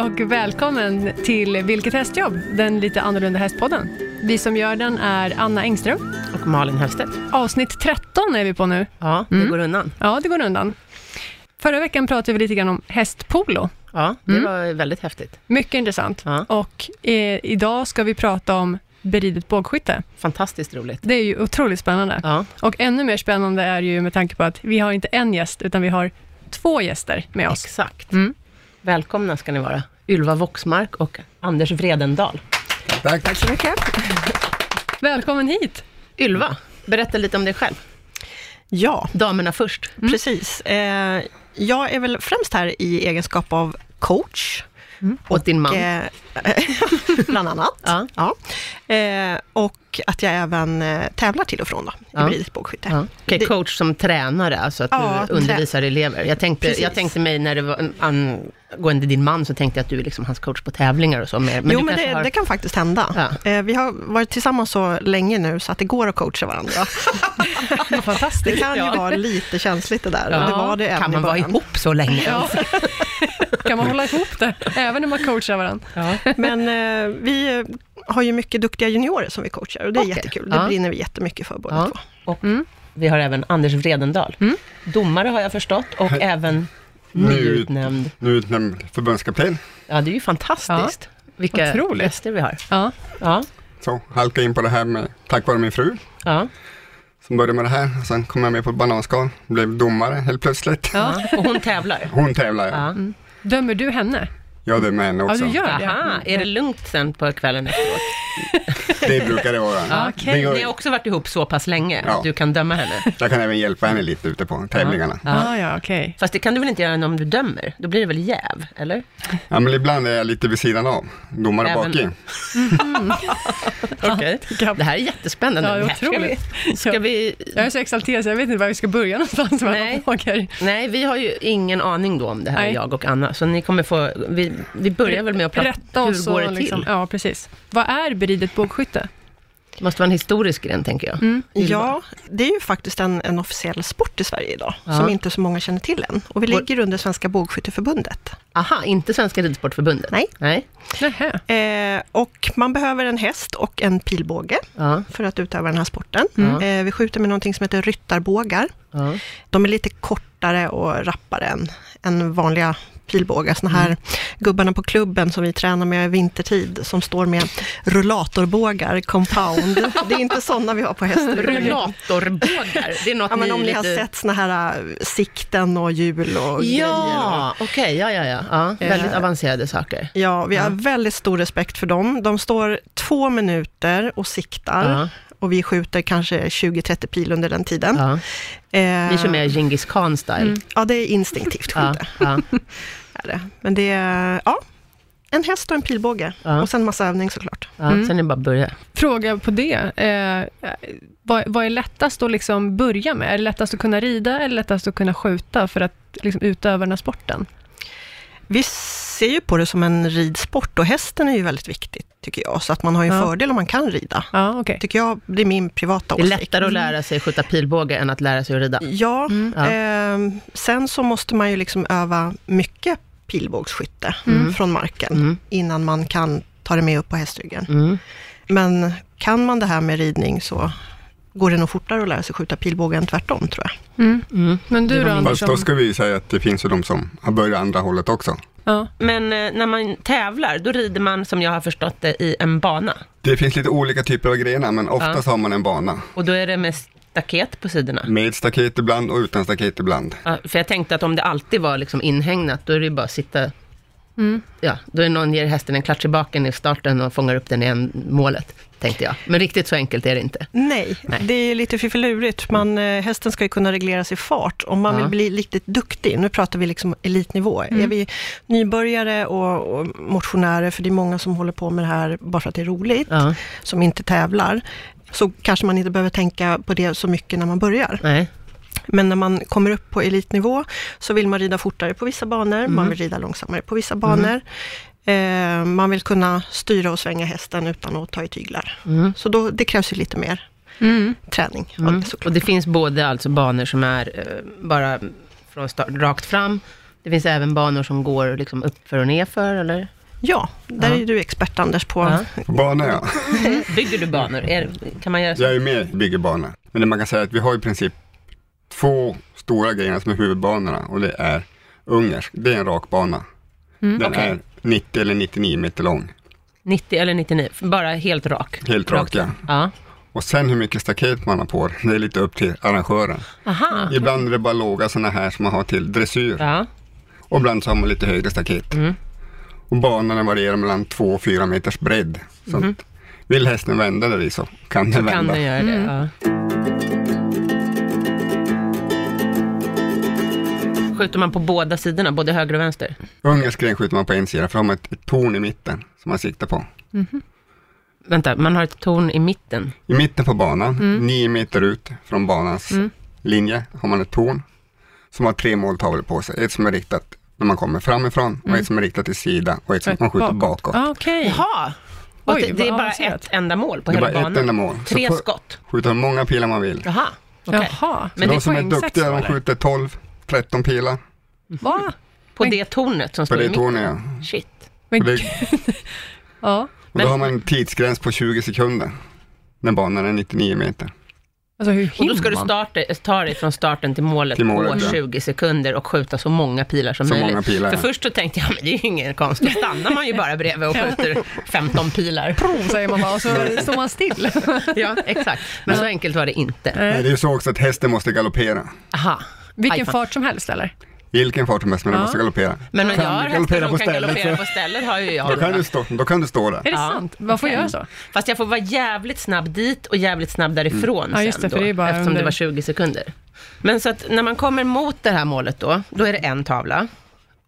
och välkommen till Vilket hästjobb? Den lite annorlunda hästpodden. Vi som gör den är Anna Engström. Och Malin Mm. Höstedt. Avsnitt 13 är vi på nu. Ja, det går undan. Ja, det går undan. Förra veckan pratade vi lite grann om hästpolo. Ja, det Mm. var väldigt häftigt. Mycket intressant. Ja. Och eh, idag ska vi prata om beridet bågskytte. Fantastiskt roligt. Det är ju otroligt spännande. Ja, Och ännu mer spännande är ju med tanke på att vi har inte en gäst, utan vi har två gäster med oss. exakt. Mm. Välkomna ska ni vara. Ylva Voxmark och Anders Vredendal. Tack. Tack så mycket. Välkommen hit! Ylva, berätta lite om dig själv. Ja, Damerna först. Mm. precis. Eh, jag är väl främst här i egenskap av coach, Åt din man. eh, bland annat. Ja. Ja. Eh, och att jag även eh, tävlar till och från då, i Ja. beridigt bågskytte. Ja. Okej, det- coach som tränare, alltså att Ja, du undervisar elever. Jag tänkte, Precis. jag tänkte mig när det var an- angående din man, så tänkte jag att du är liksom hans coach på tävlingar och så. Men men jo, du men kanske det, har... det kan faktiskt hända. Eh, vi har varit tillsammans så länge nu, så att det går att coacha varandra. Fantastiskt! Det kan ju Ja. vara lite känsligt det där, och det var det även kan i man vara början. ihop så länge? Ja. kan man hålla ihop det, även när man coachar varandra? Ja. Men eh, vi eh, har ju mycket duktiga juniorer som vi coachar, och det är Okej. jättekul. Det Ja. brinner vi jättemycket för båda Ja. två. Och vi har även Anders Vredendal. Domare har jag förstått och även nyutnämnd. Nu utnämnd förbundskapten. Ja, det är ju fantastiskt. Vilka Otroligt. gäster vi har. Ja. Ja, Så halkade in på det här med, tack vare min fru ja. som började med det här. Sen kom jag med på ett bananskal, blev domare helt plötsligt. Ja. Och hon tävlar. Hon tävlar ja. Ja. Dömer du henne? Jag dömer henne Ja, också. du gör det? Mm. Aha, är det lugnt sen på kvällen efteråt? Det brukar det vara. Ja. Okej. Det gör- Ni har också varit ihop så pass länge Ja. att du kan döma henne? Jag kan även hjälpa henne lite ute på tävlingarna. Ja. Ah, ja, okej. Fast det kan du väl inte göra om du dömer? Då blir det väl jäv, eller? Ja, men ibland är jag lite vid sidan av. Domare Även- bakom. Okej. Det här är jättespännande. Ja, det är Här ska vi- Ska Ja. vi... Jag är så exalterad så jag vet inte var vi ska börja någonstans med alla Nej. frågor. Nej, vi har ju ingen aning då om det här, Nej. jag och Anna. Så ni kommer få... Vi, vi börjar väl med att prata, Rätta hur oss och går det till? liksom- Ja, precis. Vad är beridet bågskytte? Det måste vara en historisk gren, tänker Mm. jag. Ylva. Ja, det är ju faktiskt en, en officiell sport i Sverige idag, Ja. som inte så många känner till än. Och vi Vår- ligger under Svenska bågskytteförbundet. Aha, inte Svenska Ridsportförbundet? Nej. Nej. Nähä. Eh, och man behöver en häst och en pilbåge Ja, för att utöva den här sporten. Mm. Eh, vi skjuter med någonting som heter ryttarbågar. ja. De är lite kortare och rappare än, än vanliga pilbågar. Såna Mm. här gubbarna på klubben som vi tränar med vintertid, som står med rullatorbågar, compound. det är inte sådana vi har på hästar. Rullatorbågar, det är något Ja, men ni om ni har lite... sett såna här äh, sikten och hjul och grejer. Ja, okej, ja, ja, ja. ja väldigt Eh. avancerade saker. Ja, vi har Ja. väldigt stor respekt för dem. De står två minuter och siktar Ja, och vi skjuter kanske 20-30 pil under den tiden. ja. Eh, Ni kör mer Djingis Khan-style. Ja, det är instinktivt Ja, skjuter. ja, Är det. Men det är, ja, en häst och en pilbåge. Ja. Och sen massa övning såklart. ja. Sen är det bara att börja. Fråga på det. Eh, vad, vad är lättast att liksom börja med? Är det lättast att kunna rida eller lättast att kunna skjuta för att liksom utöva den här sporten? Vi ser ju på det som en ridsport och hästen är ju väldigt viktigt tycker jag. Så att man har ju en Ja. fördel om man kan rida. Ja, okej. Tycker jag, det är min privata Det är åsikt. lättare att lära sig skjuta pilbåge än att lära sig att rida. Ja, Mm. Ja. ehm, sen så måste man ju liksom öva mycket pilbågsskytte från marken Mm. innan man kan ta det med upp på hästryggen. Mm. Men kan man det här med ridning så går det nog fortare att lära sig skjuta pilbåge än tvärtom tror jag. Mm. Mm. Men du då, Anders? Fast då Som, ska vi ju säga att det finns ju de som har börjat andra hållet också. ja. Men eh, när man tävlar, då rider man, som jag har förstått det, i en bana. Det finns lite olika typer av grenar men oftast har man en bana. Och då är det med staket på sidorna. Med staket ibland och utan staket ibland. Ja, för jag tänkte att om det alltid var liksom inhägnat, då är det ju bara att sitta... Mm. Ja, då är det någon ger hästen en klatsch i baken i starten och fångar upp den i en målet, tänkte jag. Men riktigt så enkelt är det inte. Nej, Nej. det är lite fiffilurigt. Man, eh, hästen ska ju kunna regleras i fart. Om man Ja. Mm. vill bli riktigt duktig, nu pratar vi liksom elitnivå. Är vi nybörjare och, och motionärer, för det är många som håller på med det här bara för att det är roligt, Ja. som inte tävlar, så kanske man inte behöver tänka på det så mycket när man börjar. Nej. Men när man kommer upp på elitnivå så vill man rida fortare på vissa banor, man Mm. vill rida långsammare på vissa banor. Eh, man vill kunna styra och svänga hästen utan att ta i tyglar. Så då, det krävs ju lite mer Mm. träning. av Mm. det såklart. Och det finns både alltså banor som är eh, bara från start, rakt fram. Det finns även banor som går liksom uppför och nerför, eller? Ja, där Ja. är du expert Anders på. Ja. På banor ja. Bygger du banor? Är, kan man göra så? Jag är ju med i bygger banor. Men det man kan säga är att vi har i princip två stora grejer som är huvudbanorna och det är ungersk, det är en rakbana. Den Mm. okej. är 90 eller 99 meter lång, 90 eller 99? Bara helt rak? helt rak ja. Ja. Och sen hur mycket staket man har på det, det är lite upp till arrangören. Aha. Ibland är det bara låga sådana här som man har till dressyr Ja. Mm. och ibland så har man lite högre staket. Och banorna varierar mellan 2 och 4 meters bredd. Så att vill hästen vända där i så kan den Mhm. Kan vända. den göra det? Mm. Ja. Skjuter man på båda sidorna, både höger och vänster? Ungersk gren skjuter man på en sida för då har man ett, ett torn i mitten som man siktar på. Vänta, man har ett torn i mitten. I mitten på banan, Mm. nio meter ut från banans linje, har man ett torn som har tre måltavlor på sig. Ett som är riktat när man kommer framifrån och Mm. ett som är riktat till sidan och ett som man skjuter bakåt. Ah, Okej. Jaha! Och Oj, det, det är vad bara avancerat. ett enda mål på Det är hela bara banan? ett enda mål. Tre Så får- skott? Skjuta hur många pilar man vill. Jaha. okej. Jaha. Men de det är som är poängsex duktiga då, de eller? skjuter 12, 13 pilar Va? På det tornet som på står i det mitten? tornet. Ja. Shit. Men Och, det, gud. Ja. och då har man en tidsgräns på 20 sekunder när banan är 99 meter. Alltså hur Och hinner då ska du man? starta, ta dig från starten till målet, Till målet, på ja. 20 sekunder och skjuta så många pilar som Så möjligt. många pilar, För ja. först så tänkte jag, men det är ju ingen konst, då stannar man ju bara bredvid och skjuter 15 pilar. Prov, säger man bara, och så står man still. Ja, exakt. Men så enkelt var det inte. Nej, Nej. det är ju så också att hästen måste galoppera. Aha. Aj, Vilken fan. fart som helst, eller? Vilken fart som helst, men den Ja. måste galoppera. Men om jag Kan har du hästar galoppera som på kan stället, galoppera så- på stället, har ju Då jag. kan, va? du stå, då kan du stå där. Är det Ja. sant? Man får Okej. göra så? Fast jag får vara jävligt snabb dit och jävligt snabb därifrån Mm. Ja, just sen det, för då, det är bara eftersom det under- var 20 sekunder. Men så att när man kommer mot det här målet då, då är det en tavla.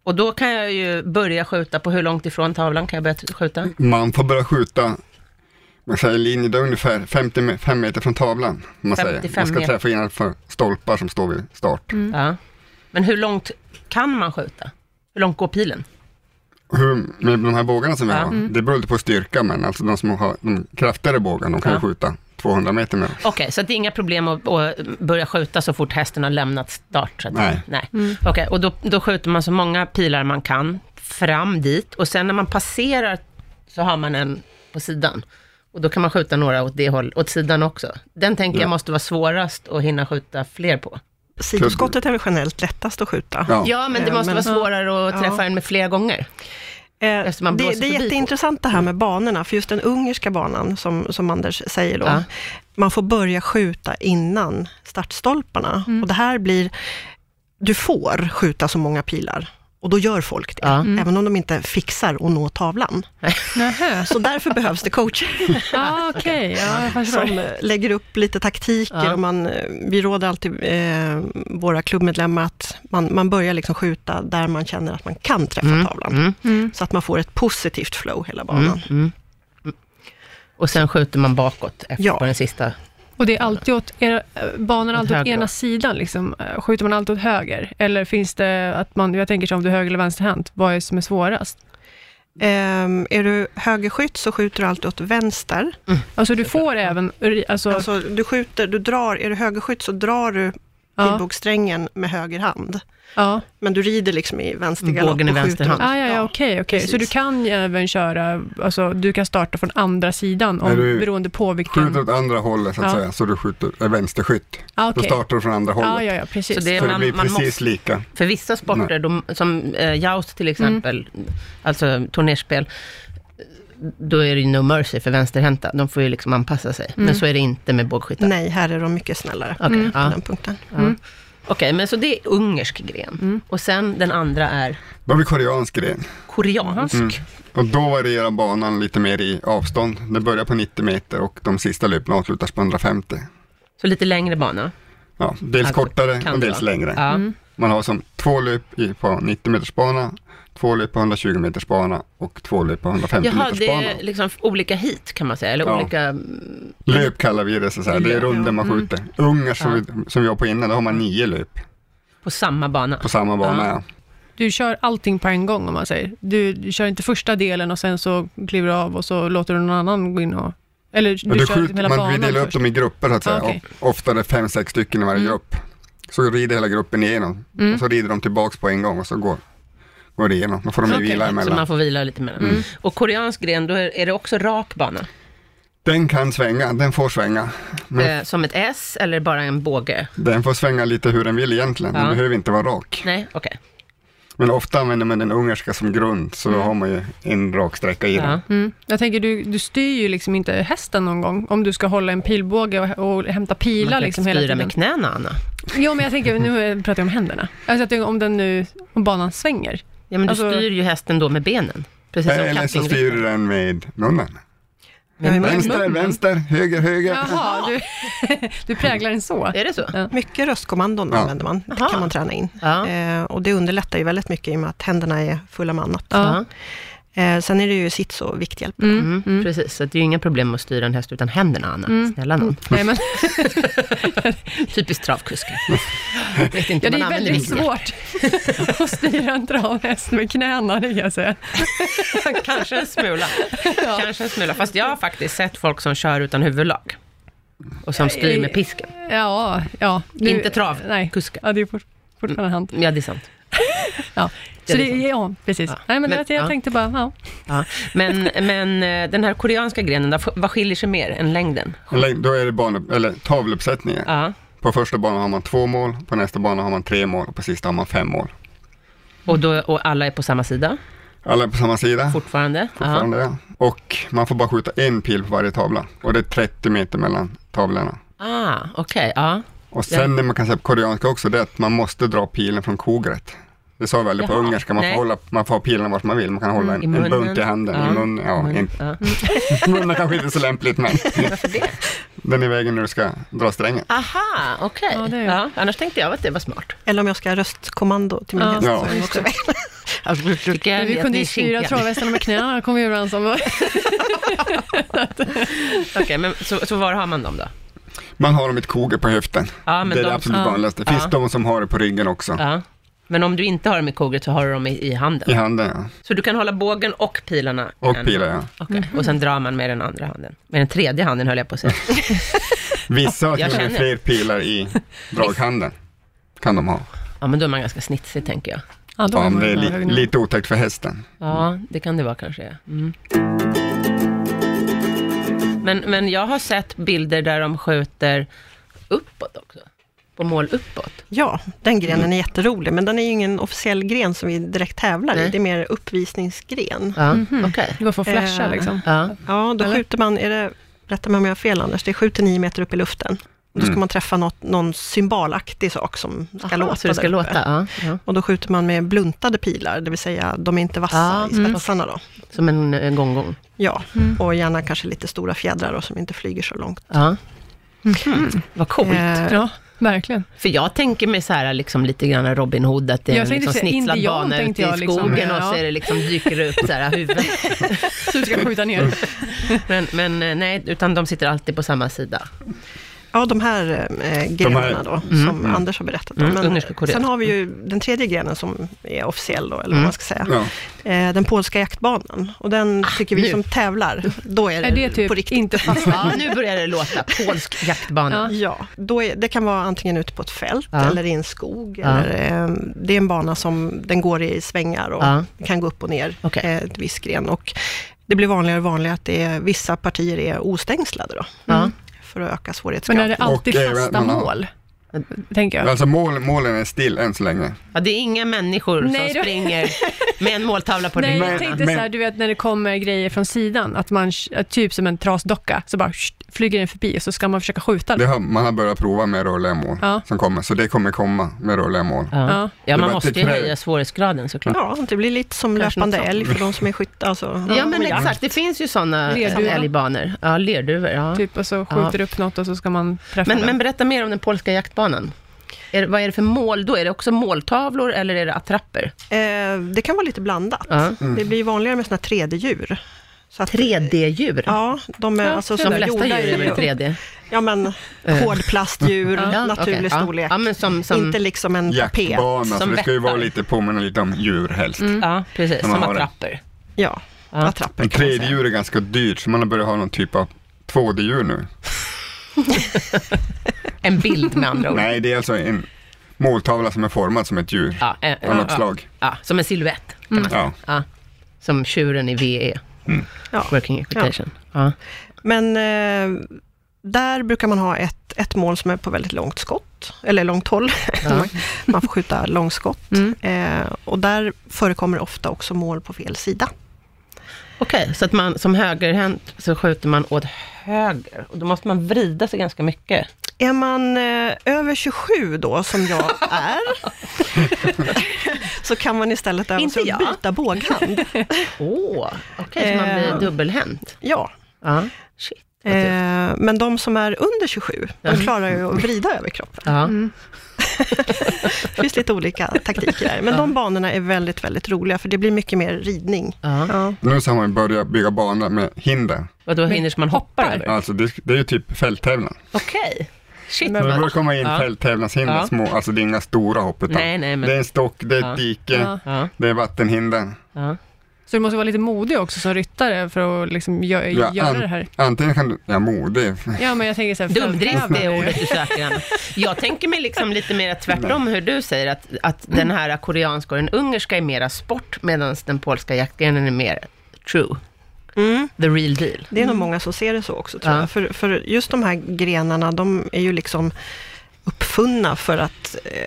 Och då kan jag ju börja skjuta på hur långt ifrån tavlan kan jag börja t- skjuta? Man får börja skjuta, man säger linjer, det är ungefär 55 meter från tavlan. Man, säger. 55 man ska meter. Mm. träffa innanför stolpar som står vid start. Ja. Men hur långt kan man skjuta? Hur långt går pilen? Hur, med de här bågarna som vi Ja. Mm. har, det beror lite på styrka, men alltså de som har de kraftigare bågarna, de kan Ja. ju skjuta 200 meter med. Okej, så att det är inga problem att, att börja skjuta så fort hästen har lämnat start? Så att, Nej. nej. Okej, och då, då skjuter man så många pilar man kan fram dit och sen när man passerar så har man en på sidan. Och då kan man skjuta några åt det håll, åt sidan också. Den tänker jag Ja. måste vara svårast att hinna skjuta fler på. Sidoskottet är väl generellt lättast att skjuta. Ja. Ja, men det Ja, måste men- vara svårare att Ja. träffa en med fler gånger. Eh, Eftersom man det, blåser det är förbi Mm. på. jätteintressant det här med banorna, för just den ungerska banan, som, som Anders säger då, Ja. man får börja skjuta innan startstolparna. Och det här blir, du får skjuta så många pilar, och då gör folk det, Ja. även om de inte fixar att nå tavlan. Nähä. Så därför behövs det coacher Ah, Okej, ja, jag som förstår. eh, lägger upp lite taktiker. Ja. Och man, eh, vi råder alltid eh, våra klubbmedlemmar att man, man börjar liksom skjuta där man känner att man kan träffa Mm. tavlan. Mm. Så att man får ett positivt flow hela banan. Mm. Och sen skjuter man bakåt efter Ja. på den sista. Och det är alltid åt, är banan Åt alltid åt höger, va? ena sidan liksom? Eh, Skjuter man alltid åt höger? Eller finns det att man, jag tänker så om du är höger eller vänsterhänt, vad är som är svårast? Ehm, är du högerskytt så skjuter du alltid åt vänster. Alltså du får även, ri- alltså, Alltså, du skjuter, du drar, är du högerskytt så drar du Ja. pilbågssträngen med höger hand. ja. Men du rider liksom i vänster Bågen galopp i och vänster skjuter hand. åt- Ah, ja, ja, okej, okej. Så du precis. kan ju även köra, alltså du kan starta från andra sidan om, Är du- beroende på vilken... Skjuter åt andra hållet så att Ja. säga, så du skjuter är vänsterskytt. Ah, Då okej. startar du från andra hållet. Ja, ja, ja, precis. Så det är Så det Man- blir man precis måste- lika. För vissa sporter, de, som eh, joust till exempel, alltså turnerspel, då är det ju no mercy för vänsterhänta. De får ju liksom anpassa sig. Men så är det inte med bågskyttar. Nej, här är de mycket snällare Okej, på ja. den punkten. Ja. Okej, men så det är ungersk gren. Och sen den andra är Då blir koreansk gren. koreansk. Mm. Och då varierar banan lite mer i avstånd. Det börjar på 90 meter och de sista löpen avslutas på 150. Så lite längre bana. Ja, dels Alltså, kortare kan och det dels vara. längre. Ja. Man har som två löp i- på 90 meters bana, två löp på 120 meters bana och två löp på 150 Jaha, meters det bana. är liksom olika hit kan man säga, eller Ja. olika... mm, Löp kallar vi det, så att säga. det är Löp, runder man skjuter. Ungar som, Mm. Ja. vi, som vi var på innan, då har man nio löp På samma bana. på samma bana. Ja. Ja. Du kör allting på en gång om man säger. Du, du kör inte första delen och sen så kliver du av och så låter du någon annan gå in och... Eller du, Och du kör skjuter- hela man banan delar upp först. dem i grupper så att Ah, säga. Okej. Och Ofta är det fem, sex stycken Mm. i varje grupp. Så rider hela gruppen igenom och så rider de tillbaks på en gång och så går går det igenom. Då får de ju Okej, vila Så man emellan. Mm. får vila lite emellan. Och koreansk gren, då är, är det också rak bana? Den kan svänga, den får svänga. Men Eh, som ett S eller bara en båge? den får svänga lite hur den vill egentligen. Den Ja. behöver inte vara rak. Nej, okej. Men ofta använder man den ungerska som grund, så då har man ju en rak sträcka i den. Mm. Ja. Mm. Jag tänker, du, du styr ju liksom inte hästen någon gång, om du ska hålla en pilbåge och, och hämta Man pilar kan liksom inte hela styra tiden. med knäna, Anna. Jo, men jag tänker, nu pratar jag om händerna. Alltså, att det- om den nu, om banan svänger. Ja, men du Alltså- styr ju hästen då med benen. Precis som Eller så styr du den med munnen. Men- Vänster, vänster, höger, höger. Jaha, du, du präglar den så. Är det så? Ja. Mycket röstkommandon Ja. använder man, det Aha. kan man träna in. Ja. Eh, och det underlättar ju väldigt mycket i och med att händerna är fulla med annat. Ja. Eh, sen är det ju sits och vikthjälp. Mm, Precis, så att det är ju inga problem att styra en häst utan händerna, Anna. Mm. Snälla nån. Nej, men, Typiskt travkuskar. Jag vet inte, Mm. ja, det man är använder väldigt inte svårt att styra en travhäst med knäna, det kan jag säga. Kanske en smula. Kanske en smula. Fast jag har faktiskt sett folk som kör utan huvudlag. Och som styr med pisken. Ja, ja. du- Inte trav, Nej, kuska. ja, det är fort- fortfarande han. Ja, det är sant. Ja. Så det det, är sant. ja, precis. Ja. Nej, men, det Men- var det jag ja. tänkte bara, ja. Ja. Men, men eh, den här koreanska grenen, där, vad skiljer sig mer än längden? Eller, Då är det bane, eller taveluppsättningen. Ja. På första banan har man två mål, på nästa bana har man tre mål och på sista har man fem mål. Och, då, och alla är på samma sida Alla är på samma sida. fortfarande? fortfarande. Och man får bara skjuta en pil på varje tavla. Och det är 30 meter mellan tavlorna. Ja. Ah, okej. Ja. Och sen det man kan säga på koreanska också, det är att man måste dra pilen från kogret. Det sa jag väl på Jaha, ungerska, man får, nej. Mm, hålla, man får ha pilen vart man vill. Man kan hålla I en, en munnen. bunt i handen. Ja. I munnen, ja, Men, in, ja. munnen kanske inte är så lämpligt, men den är i vägen när du ska dra strängen. Aha, okej. Ja, det är- Ja, annars tänkte jag att det var smart. Eller om jag ska ha röstkommando till min häst. Ja. så är det också väl. Vilka Vi kunde ju styra travhästarna med knäna, kom vi överens om. Okej, men så, så var har man dem då? Man har dem i ett koger på höften. Ja, men det är det de- absolut ja. vanligaste. Det finns Ja. de som har det på ryggen också. Ja. Men om du inte har dem i kogret så har du dem i, i handen? I handen, Så du kan hålla bågen och pilarna? i ja. Och en pilar, hand. ja. Okej, och sen drar man med den andra handen. Med den tredje handen höll jag på att säga. Vissa har Jag till och med känner. fler pilar i draghanden. Kan de ha. Ja, men då är man ganska snitsig tänker jag. Ja, då Ja, var men man det är på li- hög nivå. lite otäckt för hästen. Ja, det kan det vara kanske. ja. Mm. Men, men jag har sett bilder där de skjuter uppåt också. På mål uppåt. Ja, den grenen Mm. är jätterolig, men den är ju ingen officiell gren som vi direkt tävlar i. Nej. Det är mer uppvisningsgren. Ja, okej. Det går för att flasha Eh, liksom. Mhm. Ja. Ja, då skjuter man, är det, rätta mig om jag har fel Anders, det är 7-9 meter upp i luften. Då ska man träffa något, någon symbolaktig sak som ska Mm. Aha, låta så det ska där uppe. låta, ja, ja. Och då skjuter man med bluntade pilar, det vill säga de är inte vassa Ja, i spetsarna mm. då. Som en eh, gånggång. Ja, och gärna kanske lite stora fjädrar då, som inte flyger så långt. Ja. Mm. Vad coolt. Eh, Ja, verkligen. För jag tänker mig så här liksom lite grann Robin Hood, att det är Jag en tänkte liksom säga snitslad indian, bana tänkte ute i jag, liksom. skogen Ja. och så är det liksom, dyker det upp så här huvuden. Så du ska skjuta ner. Men, men eh, nej, utan de sitter alltid på samma sida. Mm. Ja, de här eh, grenarna då, som Anders har berättat om. Mm, Men ungerska Korea. sen har vi ju den tredje grenen som är officiell då, eller Mm. vad man ska säga. Ja. Eh, den polska jaktbanan. Och den tycker vi Ah, nu. som tävlar, då är det, Är det på typ riktigt. inte fast? Ja, nu börjar det låta. Polsk jaktbana. Ja. Ja, då är, det kan vara antingen ute på ett fält Ja. eller i en skog. Ja. Eller, eh, det är en bana som den går i svängar och Ja. kan gå upp och ner Okej. eh, ett visst gren. Och det blir vanligare och vanligare att det är, vissa partier är ostängslade då, Mm. Ja. för att öka Men svårighetsgraden. är det alltid Och, eh, fasta man har- mål? Tänker jag. Alltså mål, målen är still än så länge. Ja, det är inga människor Nej, som då- springer med en måltavla på Nej, ryggen. jag tänkte så här, du vet när det kommer grejer från sidan, att man, att typ som en trasdocka, så bara sht, flyger den förbi och så ska man försöka skjuta Det den. har, man har börjat prova med rörliga mål Ja. som kommer, så det kommer komma med rörliga mål. Ja, ja Det man typ var måste inte ju trä. höja svårighetsgraden såklart. Ja, det blir lite som Kanske löpande något sånt. älg för de som är skyttar. Alltså, Ja, men och jakt. exakt. Det finns ju sådana Lerduva. älgbanor. Ja, lerduvor. Ja. Typ och så skjuter upp något och så ska man träffa Men, den. men berätta mer om den polska jaktbanan. Är, det- vad är det för mål då? Är det också måltavlor eller är det attrapper? Eh, det kan vara lite blandat. Ja. Det blir vanligare med sådana 3D-djur. Så att- 3D-djur? Ja, de är Ja, alltså De som flesta gjorda djur är i väl 3D? Ja men, hårdplastdjur, Ja, naturlig okej, ja. storlek. Ja, men som, som, Inte liksom en tapet. Jaktbana, så Som det ska vättar. ju Mm. vara lite påminna lite om djur helst. ja, precis, man som har det. attrapper. Ja, Ja. attrapper Men kan man säga. 3D-djur är ganska dyrt, så man har börjat ha någon typ av 2D-djur nu. En bild med andra ord. Nej, det är alltså en måltavla som är formad som ett djur Ja, en, av något slag. ja, som en silhuett. Kan man säga. Ja. Ja. Som tjuren i VE, Ja. Working Equitation. Ja. Men eh, där brukar man ha ett, ett mål som är på väldigt långt skott, eller långt håll. Ja. man får skjuta långskott. Mm. Eh, och där förekommer ofta också mål på fel sida. Okej, så att man som högerhänt så skjuter man åt höger och då måste man vrida sig ganska mycket. Är man eh, över 27 då, som jag är, så kan man istället öva Inte sig att jag. byta båghand. Åh, okej, så man Eh. blir dubbelhänt. Ja. Ehm. Ja, shit. vad tufft. Eh, men de som är under 27, de Ja. klarar ju att vrida över kroppen. Ja. Det finns lite olika taktiker där. Men de banorna är väldigt, väldigt roliga, för det blir mycket mer ridning. Ja. Ja. Nu så har man börjat bygga banor med hinder. Och då hinner man hoppa Hoppar. över? Alltså det, det är ju typ fälttävlan. Okej. Shit, Så det vad- börjar komma in Ja. fälttävlanshinder, Ja. små, alltså det är inga stora hopp utan Nej, nej, men- det är en stock, det är ett Ja. dike, Ja. Ja, det är vattenhinder. ja. Så du måste vara lite modig också som ryttare för att liksom gö- göra an- det här. Antingen kan du, ja modig, Ja, men jag tänker så här, Dumdrift fälttävlan är ju- ordet du söker, Anna. Jag tänker mig liksom lite mer tvärtom hur du säger, att, att den här koreanska och den ungerska är mera sport, medan den polska jaktgrenen är mer true, the real deal. Mm, Det är nog många som ser det så också, tror Mm. Ja. jag. För, för just de här grenarna, de är ju liksom uppfunna för att eh,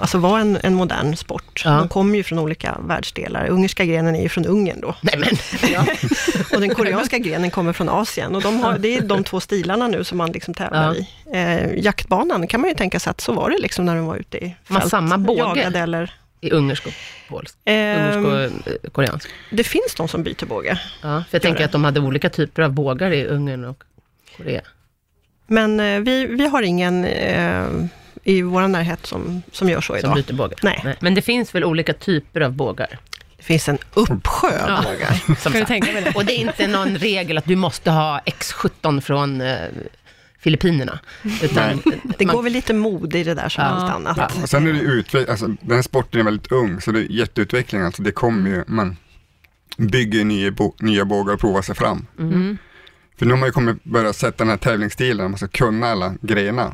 alltså vara en, en modern sport. Ja. De kommer ju från olika världsdelar. Ungerska grenen är ju från Ungern då. Nej men, ja. Och den koreanska grenen kommer från Asien. Och de har, det är de två stilarna nu som man liksom Ja. tävlar i. Eh, jaktbanan kan man ju tänka sig att så var det liksom när de var ute i Man fält, samma båge. jagade eller... i ungersk och polsk. Ungersk Ehm, och eh, koreansk. det finns de som byter båge. Ja, för jag tänker det. att de hade olika typer av bågar i Ungern och Korea. Men eh, vi, vi har ingen eh, i vår närhet som, som gör så Som idag. byter bågar. Nej. Men det finns väl olika typer av bågar? Det finns en uppsjö av bågar. Som Kan du sagt. tänka dig det? Och det är inte någon regel att du måste ha X17 från eh, Filippinerna. Utan Det man- går väl lite mode i det där som Ja. allt annat. Ja. Och sen är det utveckling, alltså den här sporten är väldigt ung, så det är jätteutveckling, alltså det kommer ju, man bygger nya, bo- nya bågar och provar sig fram. Mm. Mm. För nu har man ju kommit börja sätta den här tävlingsstilen, man ska kunna alla grenar.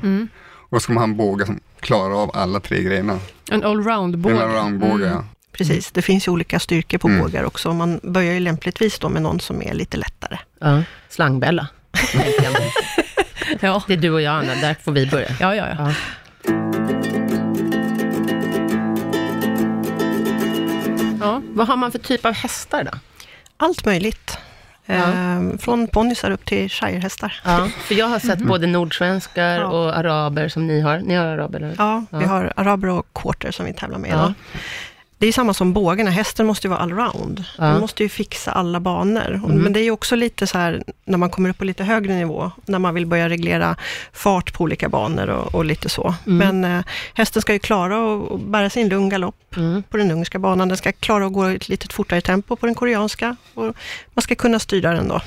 Och så ska man ha en båge som klarar av alla tre grenar. En En allround-båge. roundbåge, Mm. ja. Precis, det finns ju olika styrkor på Mm. bågar också. Man börjar ju lämpligtvis då med någon som är lite lättare. Ja, slangbella. tänker jag mig. Mm. Ja, Det är du och jag, Anna. Där får vi börja. ja, ja. ja. Ja. ja. Vad har man för typ av hästar då? Allt möjligt. Ja. Ehm, från ponnysar upp till shirehästar. Ja, för jag har sett både nordsvenskar Ja. och araber som ni har. Ni har araber, eller? Ja, vi Ja. har araber och quarter som vi tävlar med Ja. idag. Det är ju samma som bågarna, hästen måste ju vara allround. Den Ja. Mm. måste ju fixa alla banor. Och- Men det är ju också lite så här, när man kommer upp på lite högre nivå, när man vill börja reglera fart på olika banor och, och lite så. Mm. Men eh, hästen ska ju klara att- att bära sin lugn galopp Mm. på den ungerska banan. Den ska klara att gå i ett lite fortare tempo på den koreanska. Och man ska kunna styra den då,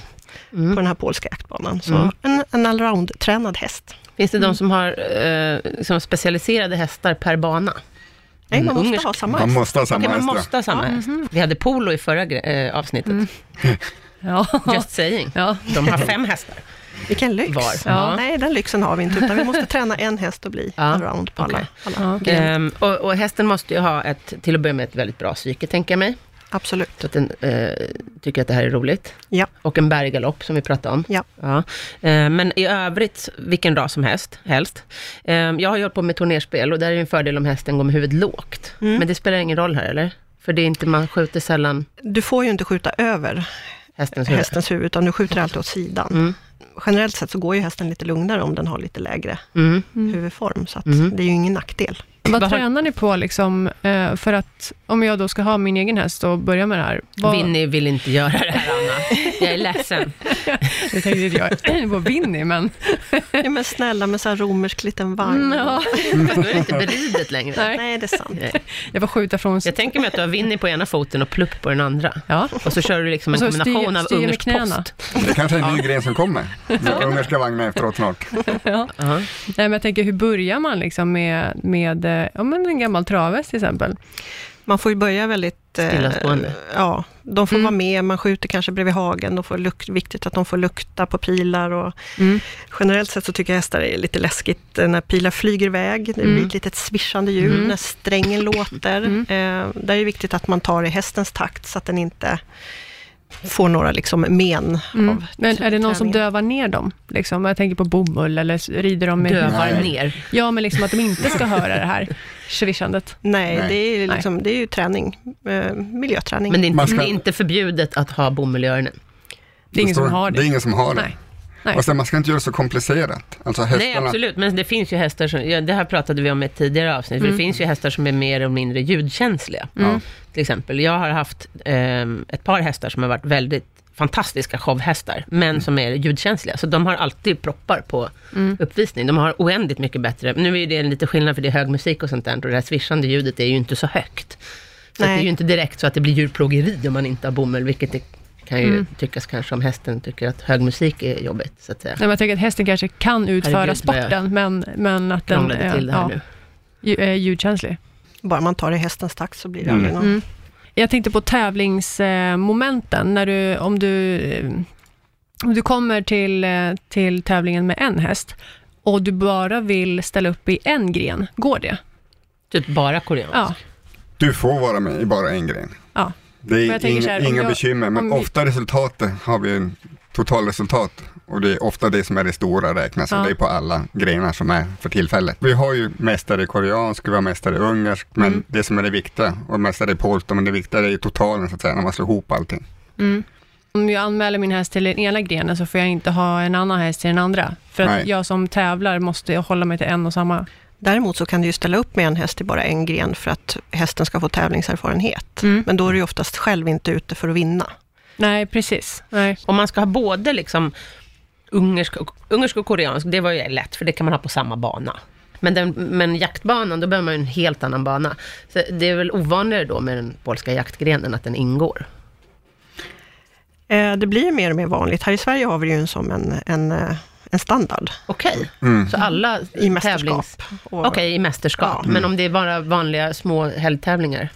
Mm. på den här polska jaktbanan. Så en, en allround-tränad häst. Finns det de som har eh, liksom specialiserade hästar per bana? Nej, En man måste ungersk- ha samma Man häst. måste ha Okej, samma Mm, man häst. måste ha samma häst. Vi hade polo i förra gre- eh, avsnittet. ja. Just saying. ja. De har fem hästar. Vilken lyx! Var. Ja. Nej, den lyxen har vi inte, utan vi måste träna en häst och bli Ja, allround på alla. okej. alla. Ehm, och, och hästen måste ju ha ett, till att börja med, ett väldigt bra psyke, tänker jag mig. Absolut. Så att den eh, tycker att det här är roligt. Ja. Och en berggalopp, som vi pratade om. Ja. Eh, men i övrigt, vilken ras som helst. helst. Eh, jag har ju hållit på med turnerspel och där är det en fördel om hästen går med huvudet lågt. Mm. Men det spelar ingen roll här, eller? För det är inte, man skjuter sällan Du får ju inte skjuta över hästens huvud. Mm. hästens huvud, utan du skjuter alltid åt sidan. Generellt sett så går ju hästen lite lugnare om den har lite lägre Mm. huvudform, så att det är ju ingen nackdel. Vad Vad har- tränar ni på liksom, eh, för att, om jag då ska ha min egen häst och börja med det här? Vad, Vinny vill inte göra det här, Anna. Jag är ledsen. Det tänkte inte jag på Vinny, men... Mm, Ja, men snälla, med så här romersk liten vagn. Ja. Fast då är det inte beridet längre. Eh, Nej. Nej, det är sant. Jag får skjuta från... Jag tänker mig att du har Winnie på ena foten och plupp på den andra. Ja. Och så kör du liksom en Och så styr- kombination av styr med ungersk knäna. post. Det kanske är en ny gren som kommer. Den ungerska vagnen efteråt snart. Ja. Ja. Nej, men jag tänker, hur börjar man liksom med, med eh, ja, men en gammal travhäst till exempel? Man får ju börja väldigt... eh, Stillastående. Ja, De Mm. får vara med, man skjuter kanske bredvid hagen, de får luk- viktigt att de får lukta på pilar och Mm. generellt sett så tycker jag hästar är lite läskigt eh, när pilar flyger iväg, det Mm. blir ett litet svischande ljud Mm. när strängen låter. Eh, där är det viktigt att man tar i hästens takt så att den inte får några liksom men Mm. av typ Men är det någon som träningen. dövar ner dem? Liksom? Jag tänker på bomull eller s- rider de med... Dövar Nej. ner. Ja, men liksom att de inte ska höra det här svischandet. Nej, Nej. Det, är liksom, det är ju träning, eh, miljöträning. Men det är, inte, Man ska- det är inte förbjudet att ha bomull i öronen. Det är ingen som Förstår du? har det. Det är ingen som har det. Nej. Nej. Och sen, man ska inte göra det så komplicerat. Alltså Nej, hästarna, absolut. Men det finns ju hästar som, ja, det här pratade vi om i ett tidigare avsnitt, för det finns ju hästar som är mer eller mindre ljudkänsliga. Mm. Ja. Till exempel, jag har haft ehm, ett par hästar som har varit väldigt fantastiska showhästar, men som är ljudkänsliga. Så de har alltid proppar på uppvisning. De har oändligt mycket bättre, nu är ju det en lite skillnad för det är hög musik och sånt där, och det här svischande ljudet är ju inte så högt. Så att det Nej. är ju inte direkt så att det blir djurplågeri om man inte har bomull, vilket det kan ju tyckas kanske om hästen tycker att hög musik är jobbigt, så att säga. Nej, men jag tänker att hästen kanske kan utföra Herregud, vad jag sporten, men, men att den Krånglade är, till det här nu. ju- är ljudkänslig. Bara man tar i hästens takt så blir det Mm. aldrig någon... Mm. Jag tänkte på tävlingsmomenten, när du, om du, eh, om du kommer till, eh, till tävlingen med en häst, och du bara vill ställa upp i en gren, går det? Typ bara koreansk. Ja. du får vara med i bara en gren. ja. Det Men jag är tänker så inga, här, om inga jag- bekymmer, men om vi- ofta resultatet har vi en totalresultat och det är ofta det som är det stora räknas Ja. och det är på alla grenar som är för tillfället. Vi har ju mästare i koreansk, vi har mästare i ungersk, men Mm. det som är det viktiga och mästare i polto, men det viktiga är ju totalen så att säga, när man slår ihop allting. Mm. Om jag anmäler min häst till den ena grenen, så får jag inte ha en annan häst till den andra. För att Nej. jag som tävlar måste jag hålla mig till en och samma. Däremot så kan du ju ställa upp med en häst i bara en gren för att hästen ska få tävlingserfarenhet. Men då är du ju oftast själv inte ute för att vinna. Nej, precis. Nej. Om man ska ha både liksom ungersk, och, ungersk och koreansk, det var ju lätt, för det kan man ha på samma bana. Men, den, men jaktbanan, då behöver man ju en helt annan bana. Så det är väl ovanligare då med den polska jaktgrenen att den ingår. Eh, Det blir ju mer och mer vanligt. Här i Sverige har vi ju en som en, en, eh, en standard Okej, så alla i mästerskap. tävlings... Och- Okej, i mästerskap. Men om det är bara vanliga små helgtävlingar?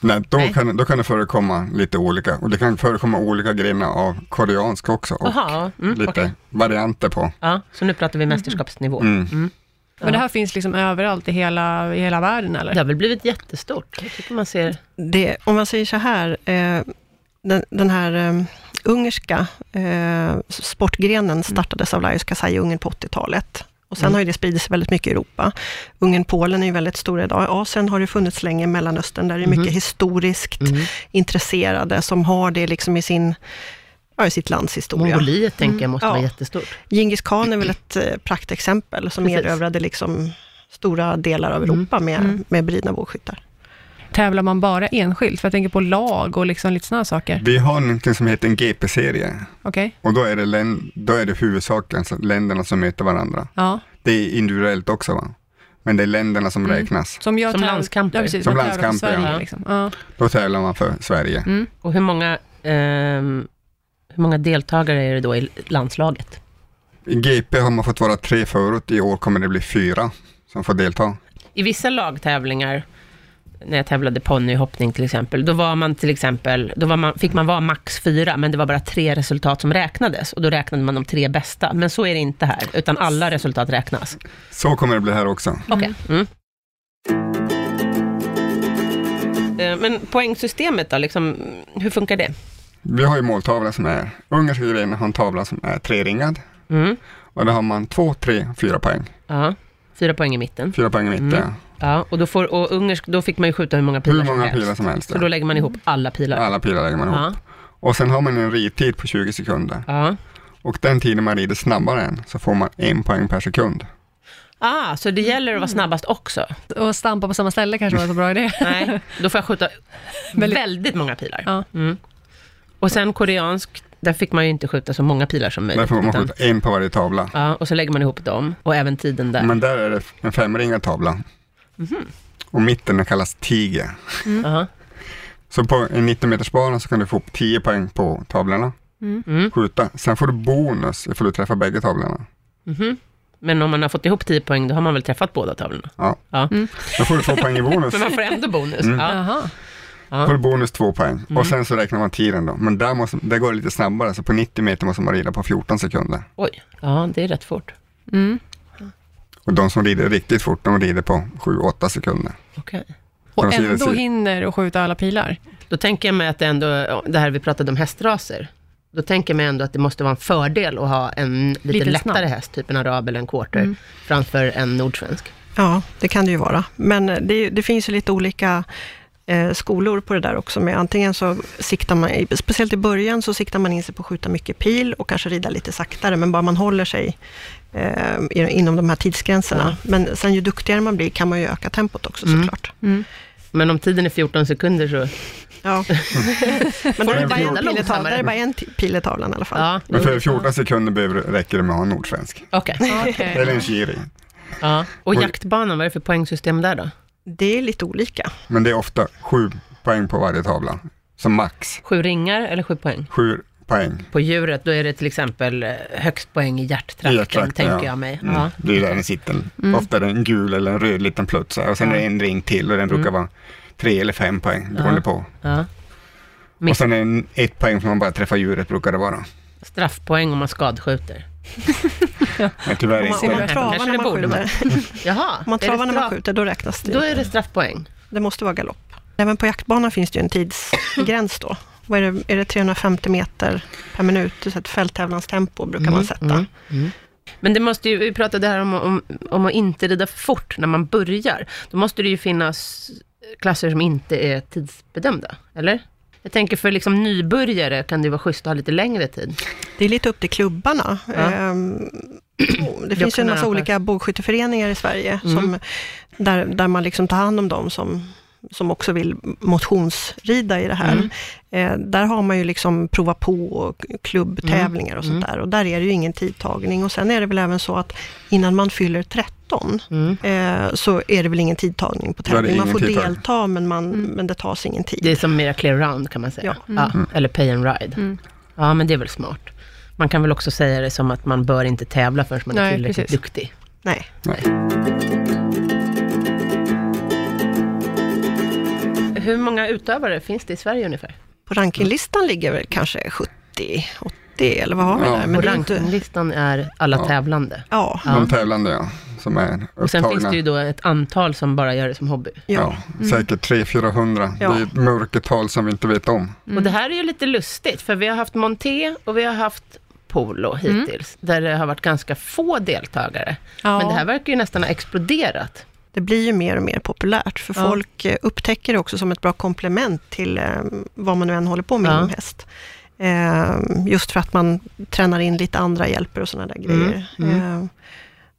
Nej, då, Nej. Kan, då kan det förekomma lite olika och det kan förekomma olika grenar av koreansk också och Jaha, mm, lite okej. varianter på. Ja, så nu pratar vi mästerskapsnivå. Men det här finns liksom överallt i hela, i hela världen, eller? Det har väl blivit jättestort? Jag tycker man ser... det, om man säger så här, eh, den, den här eh, ungerska eh, sportgrenen startades av Lajos Kasai i Ungern på 80-talet. Och sen har ju det spridits väldigt mycket i Europa. Ungern-Polen är ju väldigt stora idag. I Asien har det funnits länge, i Mellanöstern, där det är mycket historiskt intresserade som har det liksom i, sin, ja, i sitt lands historia. Mongoliet, tänker jag, måste Ja. vara jättestort. Genghis khan är väl ett eh, praktexempel som Precis. erövrade liksom stora delar av Europa med, med beridna bågskyttar. Tävlar man bara enskilt? För jag tänker på lag och liksom lite sådana saker. Vi har någonting som heter en GP-serie Okej? och då är det, län, då är det huvudsaken, alltså länderna som möter varandra. Ja. Det är individuellt också va? Men det är länderna som Mm. räknas. Som, jag Som täv- landskamper. Ja, precis, Som man tävlar för landskamper, Sverige, ja. Liksom. Ja. Mm. Då tävlar man för Sverige. Och hur många, ehm, hur många deltagare är det då i landslaget? I GP har man fått vara tre förut, i år kommer det bli fyra som får delta. I vissa lagtävlingar, när jag tävlade ponnyhoppning till exempel, då var man till exempel, då var man, fick man vara max fyra, men det var bara tre resultat som räknades. Och då räknade man de tre bästa. Men så är det inte här, utan alla resultat räknas. Mm. Så kommer det bli här också. Okej. Mm. Eh, Men poängsystemet då, liksom, hur funkar det? Vi har ju måltavlan som är, ungerska grenen har en tavla som är treringad Mm. och då har man två, tre, fyra poäng. Ja. Fyra poäng i mitten. Fyra poäng i mitten. Mm. Ja, och, då får, och ungersk, då fick man ju skjuta hur många pilar Hur många helst. pilar som helst. Så då lägger man ihop alla pilar. Alla pilar lägger man ihop. Ja. Och sen har man en ridtid på 20 sekunder. Ja. Och den tiden man rider snabbare än så får man en poäng per sekund. Ah, så det gäller att vara snabbast också? Och stampa på samma ställe kanske var så bra idé. Nej, då får jag skjuta Väldigt- väldigt, många pilar. Ja. Mm. Och sen koreansk, där fick man ju inte skjuta så många pilar som möjligt. Därför får man utan- skjuta en på varje tavla. ja, och så lägger man ihop dem och även tiden där. Men där är det en femringad tavla. Och mitten den kallas tiger. Mm. Ja. Så på en 90 metersbana så kan du få upp 10 poäng på tavlorna. Mm. Skjuta. Sen får du bonus ifall du träffar bägge tavlorna. Mhm. Men om man har fått ihop 10 poäng, då har man väl träffat båda tavlorna? Ja. Ja. Då får du två poäng i bonus. Mm. Men man får ändå bonus. Ja. Jaha. Får Ja. bonus två poäng. Och sen så räknar man tiden då. Men där, måste, där går det lite snabbare, så på 90 meter måste man rida på 14 sekunder. Oj, ja det är rätt fort. Mm. Och de som rider riktigt fort, de rider på 7-8 sekunder. Okej. Och Alltså, jag ändå ser- hinner och skjuta alla pilar. Då tänker jag mig att det ändå, ja, det här vi pratade om hästraser, då tänker jag mig ändå att det måste vara en fördel att ha en lite, Lite lättare snabb. häst, typ en arab eller en quarter, framför en nordsvensk. Ja, det kan det ju vara. Men det, det finns ju lite olika eh, skolor på det där också. Med antingen så siktar man, i- speciellt i början, så siktar man in sig på att skjuta mycket pil och kanske rida lite saktare, men bara man håller sig eh, i- inom de här tidsgränserna. Men sen ju duktigare man blir kan man ju öka tempot också Mm. såklart. Men om tiden är 14 sekunder så, Ja. men då är det bara en rida pil i tavlan, långsammare? där är det bara en t- pil i tavlan i alla fall. ja, Men för 14 sekunder behöver, räcker det med att ha en nordsvensk. okej. Eller en shiri. Ja. Och Oj. jaktbanan, vad är det för poängsystem där då? Det är lite olika. Men det är ofta 7 poäng på varje tavla. Som max Sju ringar eller sju poäng? 7 poäng. På djuret, då är det till exempel eh, högst poäng i hjärttrakten, I hjärttrakten, tänker ja. jag mig. Mm. Ja. Det är där den sitter. Ofta är det en gul eller en röd liten plutt så här. och sen är det en ring till och den brukar vara 3 eller 5 poäng beroende Ja. på. Ja. Och Mitt- sen är det ett poäng för man bara träffar djuret brukar det vara. Straffpoäng om man skadskjuter. Men tyvärr Om man, om inte. man Kanske travar det när man borde vara. skjuter, Jaha, om man, är det travar när man straff- skjuter då räknas det Då inte. är det straffpoäng. Det måste vara galopp. Även på jaktbanan finns det ju en tidsgräns då. Vad är, det, är det 350 meter per minut? Det är så ett fälttävlanstempo brukar man sätta. mm. Men det måste ju, vi pratade här om, om, om att inte rida för fort när man börjar. Då måste det ju finnas klasser som inte är tidsbedömda, eller? Jag tänker för liksom nybörjare kan det ju vara schysst att ha lite längre tid. Det är lite upp till klubbarna. Ehm, Det finns ju en massa arrangörer. olika bågskytteföreningar i Sverige, Mm. som, där, där man liksom tar hand om dem som, som också vill motionsrida i det här. Mm. Eh, där har man ju liksom prova på och Mm. klubbtävlingar och sånt där. Och där är det ju ingen tidtagning. Och sen är det väl även så att innan man fyller 13, Mm. eh, så är det väl ingen tidtagning på Då är det tävling. Man ingen får tidtagning. delta, men, man, men det tas ingen tid. Mm. Det är som mera clear round kan man säga. Ja. Mm. Ja. Eller pay and ride. Ja, men det är väl smart. Man kan väl också säga det som att man bör inte tävla förrän man är Nej, tillräckligt precis. duktig. Nej. Hur många utövare finns det i Sverige ungefär? På rankinglistan ligger väl kanske 70, 80 eller vad har vi Ja, där? Men Men och det är inte, rankinglistan är alla tävlande. ja, De tävlande ja, som är Och sen finns upptagna. det ju då ett antal som bara gör det som hobby. Ja, ja. säkert 300-400. Ja. Det är ett mörkertal som vi inte vet om. Och det här är ju lite lustigt, för vi har haft monté och vi har haft polo hittills, där det har varit ganska få deltagare. Ja. Men det här verkar ju nästan ha exploderat. Det blir ju mer och mer populärt, för Ja. folk eh, upptäcker det också som ett bra komplement till eh, vad man nu än håller på med Ja. inom häst. Eh, just för att man tränar in lite andra hjälper och sådana där Mm. grejer. Eh,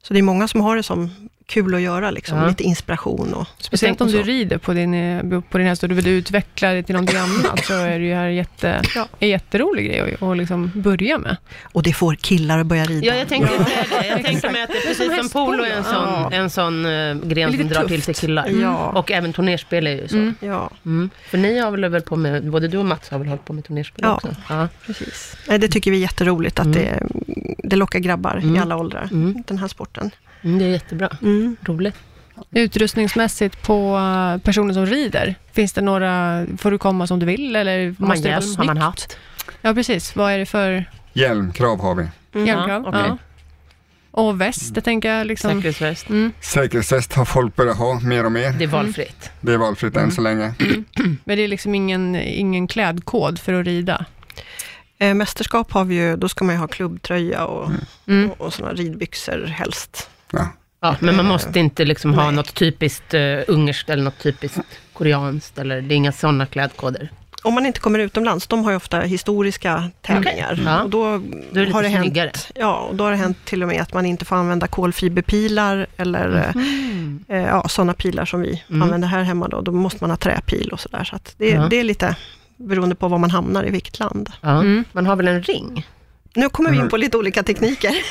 så det är många som har det som kul att göra, liksom. Ja. lite inspiration och Speciellt om och så. du rider på din, eh, på din häst och du vill utveckla det till någonting annat, så är det ju här jätte, Ja. en jätterolig grej att att liksom börja med. Och det får killar att börja rida. Ja, jag tänkte säga det. Jag tänkte Exakt. mig att det är precis som polo är en sån, Ja. en sån eh, gren Lite som drar till tufft. sig killar. Ja. Mm. Och även turnerspel är ju så. Mm. Ja, För ni har väl väl på med, både du och Mats har väl hållit på med turnerspel Ja. också? Ja. precis. Nej, det tycker vi är jätteroligt, Mm. att det, det lockar grabbar i alla åldrar, den här sporten. Mm, det är jättebra. Mm. Roligt. Utrustningsmässigt på eh, personer som rider, finns det några, får du komma som du vill eller Har man måste det vara hjälm? Har man snyggt? hatt? Ja, precis. Vad är det för Hjälmkrav har vi. hjälmkrav? Ja, okej. Ja. Och väst, det tänker jag. Liksom. Säkerhetsväst? Säkerhetstest har folk börjat ha mer och mer. Det är valfritt. Det är valfritt Mm. än så länge. Men det är liksom ingen, ingen klädkod för att rida. Eh, mästerskap har vi ju, då ska man ju ha klubbtröja och, Mm. och, och sådana ridbyxor helst. Mm. Ja. Ja, men man måste inte liksom ha Nej. något typiskt eh, ungerskt eller något typiskt koreanskt, eller det är inga sådana klädkoder. Om man inte kommer utomlands, de har ju ofta historiska tävlingar. Okej. Ja. Och då, Då är det lite har det snyggare. hänt, ja, och då har det hänt till och med att man inte får använda kolfiberpilar eller Mhm. eh, ja, sådana pilar som vi använder här hemma. Då. då måste man ha träpil och sådär. Så att det, Mm. Ja. det är lite beroende på var man hamnar, i vilket land. Ja. Man har väl en ring? Nu kommer vi in på lite olika tekniker.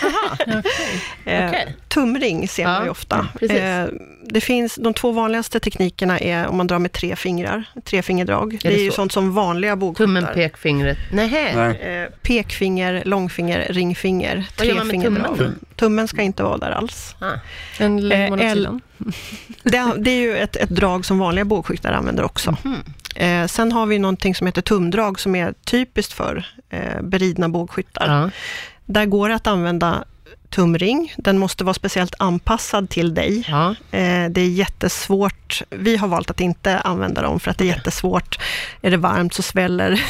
Eh, Okej. tumring ser man Ja, mm, ju ofta. precis. Eh, det finns, de två vanligaste teknikerna är om man drar med tre fingrar, trefingerdrag. Det, det är ju så? sånt som vanliga Tummen, bogskyttar. pekfingret. Nähä. Nej, Eh, pekfinger, långfinger, ringfinger, Vad gör man med trefingerdrag. tummen? Tummen ska inte vara där alls. Ah. En Eh, lemon åt L- sidan. Det, det är ju ett, ett drag som vanliga bågskyttar använder också. Mhm. Mm. Eh, sen har vi någonting som heter tumdrag som är typiskt för eh, beridna bågskyttar. Ja. Där går det att använda tumring. Den måste vara speciellt anpassad till dig. Ja. Eh, det är jättesvårt. Vi har valt att inte använda dem för att det är jättesvårt. Är det varmt så sväller,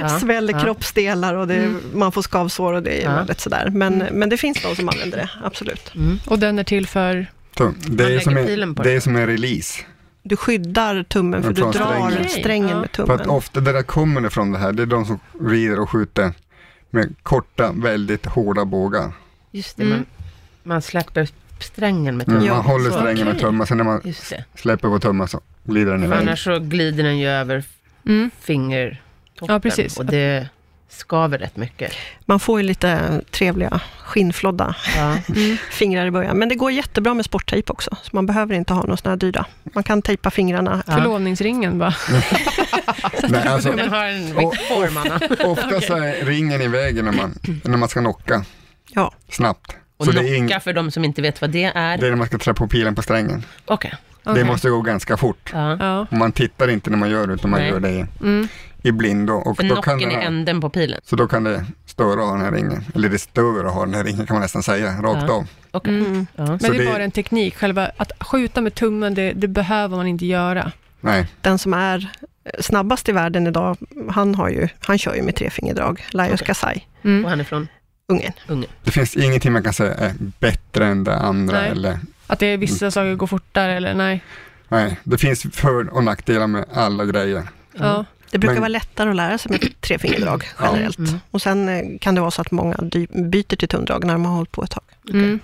Ja. sväller Ja. Mm. kroppsdelar och det, man får skavsår och det är Ja. Mm. väldigt sådär. Men, men det finns de som använder det, absolut. Och den är till för... tum. Det är, lägger som pilen en, på det det. är som en release. Du skyddar tummen för Men du från drar strängen. strängen, Ja. med För att tummen. ofta det där kommer ifrån det här, det är de som rider och skjuter med korta, väldigt hårda bågar. Just det, Mm. man, man släpper strängen med Mm, tummen. man håller Så. strängen med Okej. tummen, sen när man Just det. släpper på tummen så glider den För iväg. annars så glider den ju över Mm. fingertoppen. Ja, precis. Och det skaver rätt mycket. Man får ju lite trevliga skinnflodda Ja. Mm. fingrar i början. Men det går jättebra med sporttejp också, så man behöver inte ha någon sån här dyra. Man kan tejpa fingrarna. Ja. Förlovningsringen bara. Nej, alltså, Den har en Och- viss form, Anna. ofta så är ringen i vägen när man, när man ska knocka Ja. snabbt. Och Så knocka det är, ing, för de som inte vet vad det är. det är när man ska trä på pilen på strängen. Okej. Okej. Det måste gå ganska fort. Ja. Ja. Och man tittar inte när man gör det, utan man Nej. gör det i, Mm. i blindo. Och För då kan nocken det, är änden på pilen. Så då kan det störa att ha den här ringen. Eller det stör att ha den här ringen kan man nästan säga, rakt Ja. av. Okej. Mm. Mm. Ja. Men Så det är det- bara en teknik. Själva att skjuta med tummen, det, det behöver man inte göra. Nej, Den som är snabbast i världen idag, han, har ju, han kör ju med trefingerdrag, Lajos Okej. Kasai, Och han är från Ungern. Ungern. det finns ingenting man kan säga är bättre än det andra. Nej. Eller, Att det är Mm. vissa saker går fortare eller nej. nej, det finns för och nackdelar med alla grejer. Mm. Ja. Det brukar Men- vara lättare att lära sig med trefingerdrag generellt. Mm. Och sen eh, kan det vara så att många dy- byter till tumdrag när de har hållit på ett tag. Mm.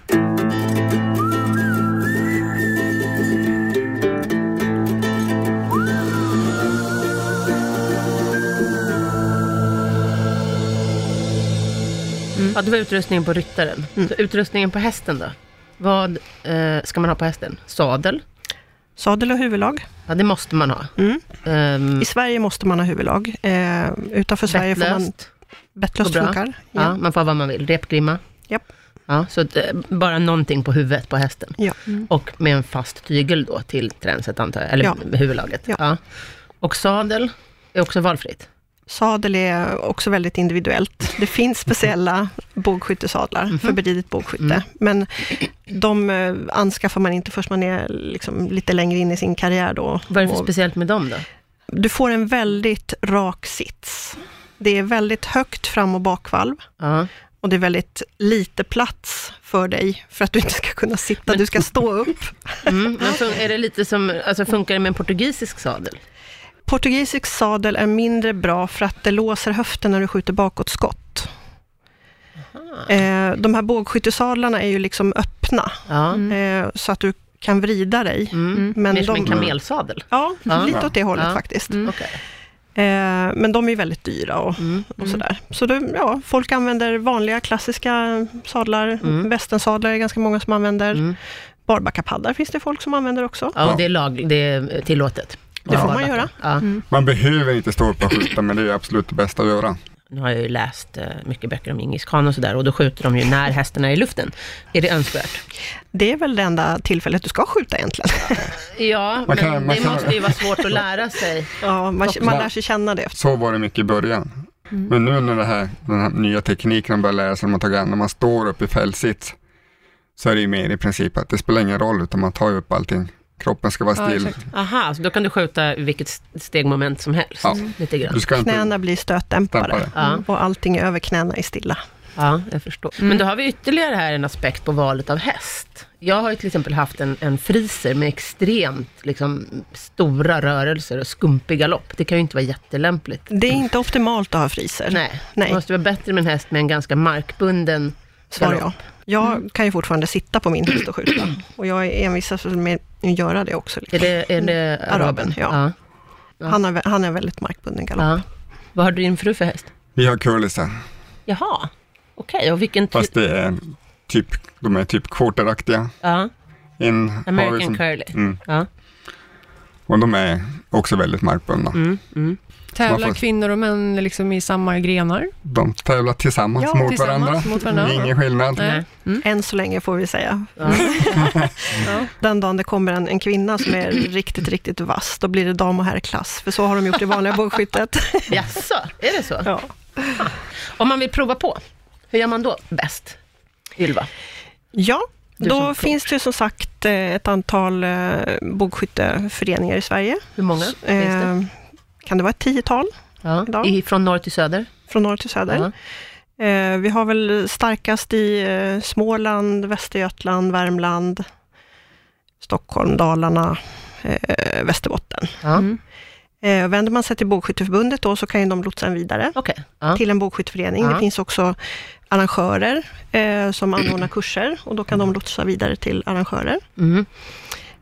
Mm. Ja, det var utrustningen på ryttaren. Så utrustningen på hästen då? Vad eh, ska man ha på hästen? Sadel? Sadel och huvudlag. Ja, det måste man ha. Mm. Ehm, I Sverige måste man ha huvudlag. Eh, utanför Sverige får man Bettlöst. bettlöst Och bra. funkar. Ja. Ja. man får ha vad man vill. Repgrimma. Japp. Ja, så att, eh, bara någonting på huvudet på hästen. Ja. Och med en fast tygel då till tränset antar jag, eller Ja. med huvudlaget. Ja. Och sadel är också valfritt. Sadel är också väldigt individuellt. Det finns speciella bågskyttesadlar för beridet bågskytte, men de eh, anskaffar man inte först man är liksom lite längre in i sin karriär. Då. Vad är det för Och speciellt med dem då? du får en väldigt rak sits. Det är väldigt högt fram och bakvalv Ja. och det är väldigt lite plats för dig för att du inte ska kunna sitta, du ska stå upp. Mm. Men fun- är det lite som, alltså funkar det med en portugisisk sadel? Portugisisk sadel är mindre bra för att det låser höften när du skjuter bakåtskott. Eh, de här bågskyttesadlarna är ju liksom öppna, Ja. eh, så att du kan vrida dig. Mm. Mer Mm. Men som en de, Mm. kamelsadel? ja, Ja. lite åt det hållet Ja. Mm. faktiskt. Okej. Eh, men de är väldigt dyra och, och sådär. Så det, ja, folk använder vanliga klassiska sadlar, västensadlar är ganska många som använder. Mm. Barbackapaddar finns det folk som använder också. Ja, Ja. och det är, lag, det är tillåtet. Det får man Ja. göra. Ja. Man behöver inte stå upp och skjuta, men det är absolut det bästa att göra. Nu har jag ju läst eh, mycket böcker om Djingis khan och sådär, och då skjuter de ju när hästen är i luften. Är det önskvärt? Det är väl det enda tillfället du ska skjuta egentligen. Ja, Man men kan- man det kan- måste ju vara svårt att lära sig. Ja, man, man lär sig känna det. Så var det mycket i början. Mm. Men nu när det här, den här nya tekniken man börjar lära sig, när man tar grann, när man står upp i fällsits, så är det ju mer i princip att det spelar ingen roll, utan man tar ju upp allting. Kroppen ska vara Ja, still. exakt. Aha, så då kan du skjuta vilket st- stegmoment som helst. Ja. Lite grann. du ska inte... Knäna blir stötdämpare Dämpare. Ja. och allting över knäna är stilla. Ja, jag förstår. Mm. Men då har vi ytterligare här en aspekt på valet av häst. Jag har ju till exempel haft en, en friser med extremt liksom, stora rörelser och skumpig galopp. Det kan ju inte vara jättelämpligt. Det är inte optimalt att ha friser. Mm. Nej, Nej. det måste vara bättre med en häst med en ganska markbunden Svarar jag. galopp. Jag Mm. kan ju fortfarande sitta på min häst och skjuta. Och jag är envisas med att göra det också. Är Liksom. det, är det Araben, Mm. araben? ja. Han, har, han är väldigt markbunden galopp. ja. Vad har din fru för häst? Vi har curlisar, Jaha, okej. Och vilken ty- fast det är en typ, de är typ quarteraktiga. Ja, En har vi American som, curly. mm, Ja. och de är också väldigt markbundna. Mm, mm. Tävlar Man får- kvinnor och män liksom i samma grenar? De tävlar tillsammans Ja, mot tillsammans varandra. mot varandra. Ingen skillnad. Nej. Än så länge får vi säga. Ja. Ja. Den dagen det kommer en, en kvinna som är riktigt, riktigt vass, då blir det dam och herrklass, för så har de gjort i vanliga bågskyttet. Jaså, är det så? Ja. Om man vill prova på, hur gör man då bäst? Ylva? Ja, Du som då proffs. finns det ju som sagt eh, ett antal eh, bågskytteföreningar i Sverige. Hur många finns det? Eh, Kan det vara ett tiotal Ja. idag? I, från norr till söder? från norr till söder? Ja. Eh, Vi har väl starkast i eh, Småland, Västergötland, Värmland, Stockholm, Dalarna, eh, Västerbotten. Ja. Mm. Eh, Vänder man sig till Bågskytteförbundet då, så kan ju de lotsa en vidare Okej. Ja. till en bågskytteförening. Ja. Det finns också arrangörer eh, som anordnar kurser och då kan de lotsa vidare till arrangörer. Mm.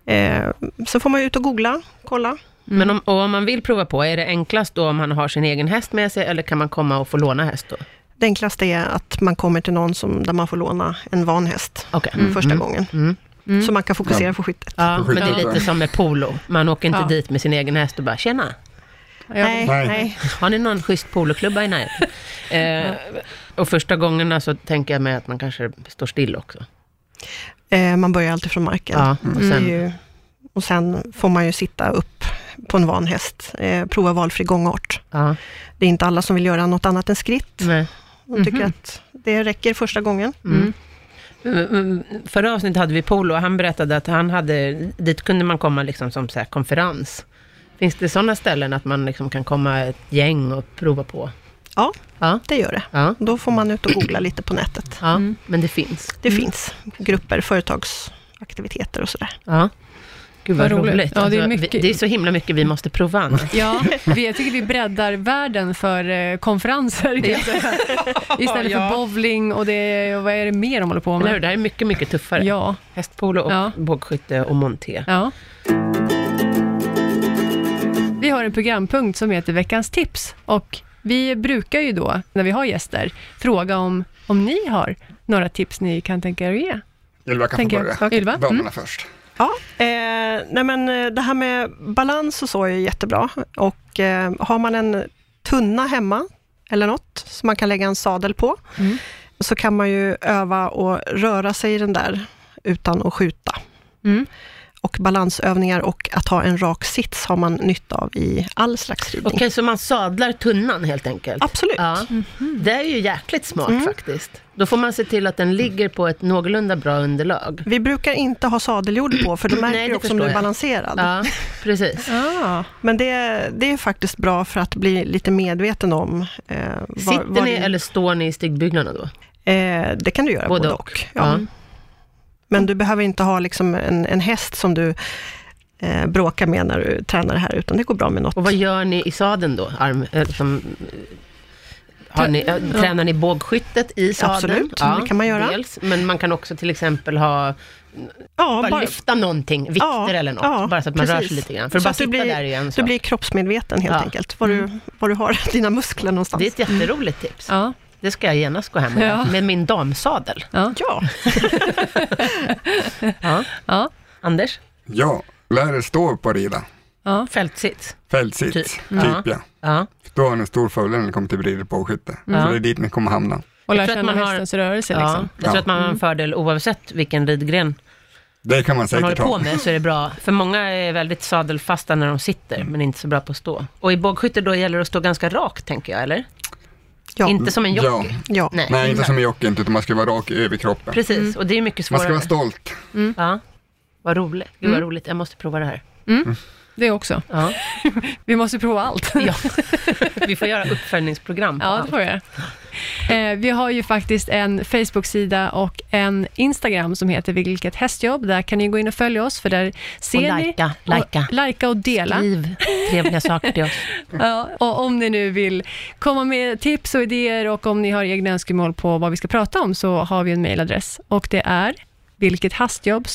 Eh, Sen får man ju ut och googla, kolla. Men om, och om man vill prova på, är det enklast då om man har sin egen häst med sig, eller kan man komma och få låna häst då? Det enklaste är att man kommer till någon som, där man får låna en van häst Okej. första gången. Mm. Mm. Så man kan fokusera Ja. på skyttet. Ja, men det är lite som med polo. Man åker inte Ja. dit med sin egen häst och bara, tjena, Ja. Nej, Nej. nej. har ni någon schysst poloklubba i närheten? eh, och första gångerna så tänker jag mig att man kanske står still också. Eh, man börjar alltid från marken. Ja, och Mm. Det är sen, ju, och sen får man ju sitta upp på en van häst, eh, prova valfri gångart. ja, Det är inte alla som vill göra något annat än skritt. nej. De tycker att det räcker första gången. Mm, mm, Förra avsnittet hade vi Polo och han berättade att han hade, dit kunde man komma liksom som så här konferens. Finns det sådana ställen att man liksom kan komma ett gäng och prova på? Ja, Ja, det gör det. ja, Då får man ut och googla lite på nätet. ja Mm. men det finns. Det finns grupper, företagsaktiviteter och sådär. Ja. Gud vad, Vad roligt. roligt. Ja, det är Alltså, vi- mycket- det är så himla mycket vi måste prova. Anna. Ja, vi, jag tycker vi breddar världen för eh, konferenser. kan jag säga. Istället Ja. för bowling och det, och vad är det mer de håller på Eller hur? med? Det här är mycket, mycket tuffare. Ja, Hästpolo och Ja. bågskytte och monté. ja. Vi har en programpunkt som heter Veckans tips och vi brukar ju då, när vi har gäster, fråga om, om ni har några tips ni kan tänka er att ge. Ylva kan Tänker få börja. jag. Okej. Ylva? Mm. Damerna först. Ja, eh, nej men eh, det här med balans och så är ju jättebra. Och eh, har man en tunna hemma eller något som man kan lägga en sadel på, Mm. så kan man ju öva och röra sig i den där utan att skjuta. Mm. Och balansövningar och att ha en rak sits har man nytta av i all slags ridning. Okej, så man sadlar tunnan helt enkelt? Absolut. Ja. Mhm. Det är ju jäkligt smart Mm. faktiskt. Då får man se till att den ligger på ett någorlunda bra underlag. Vi brukar inte ha sadeljord på, för då märker Nej, du det också om du förstår är jag. balanserad. Ja, precis. Ah. Men det, det är faktiskt bra för att bli lite medveten om eh, var- Sitter var ni din- eller står ni i stigbyggnaderna då? Eh, det kan du göra både, Både och. Ja. Men du behöver inte ha liksom en, en häst som du eh, bråkar med när du tränar det här, utan det går bra med något. Och vad gör ni i sadeln då? Arm, eh, som, har ni, eh, Tränar ni bågskyttet i sadeln? Absolut, det kan man göra. Dels, men man kan också till exempel ha, ja, bara, lyfta någonting, vikter ja, eller något, ja, bara så att man rör precis. sig lite grann. För att Så bara att sitta du blir- där är ju en Du sak. blir kroppsmedveten helt Ja. enkelt, var, du, var du har dina muskler någonstans. Det är ett jätteroligt tips. Ja, Det ska jag genast gå hem med, Ja. med min damsadel. ja, Ja, Ja. ja, Anders, Ja, lär er stå upp och rida. ja. fältsits. Fältsits, Typ. typ, Ja. ja. Ja. Då har ni en stor fördel när ni kommer till vridet på skytte. Ja. Så det är dit ni kommer hamna. Och lära tror att känna man har- hästens rörelse. Ja. Liksom. Jag tror Ja. att man har en fördel oavsett vilken ridgren Det kan man man håller säkert på ha. med så är det bra. För många är väldigt sadelfasta när de sitter, Mm. men inte så bra på att stå. Och i bågskytte då gäller det att stå ganska rakt, tänker jag, eller? ja, Inte som en jockey. Ja. ja. Nej, Nej, inte exakt. som i jockeyn, utan man ska vara rak i överkroppen. Precis, Mm. och det är mycket Man ska svårare. vara stolt. ja. Vad roligt. Gud, Mm. vad roligt. Jag måste prova det här. Det också. Ja, Vi måste prova allt. ja. Vi får göra uppföljningsprogram. på Ja, det allt. får jag. Eh, vi har ju faktiskt en Facebook-sida och en Instagram som heter Vilket hästjobb. Där kan ni gå in och följa oss, för där ser Och ni... likea, likea. Och, likea och dela. Liv, trevliga saker till oss. Ja, och om ni nu vill komma med tips och idéer och om ni har egna önskemål på vad vi ska prata om, så har vi en mejladress. Och det är vilkethastjobb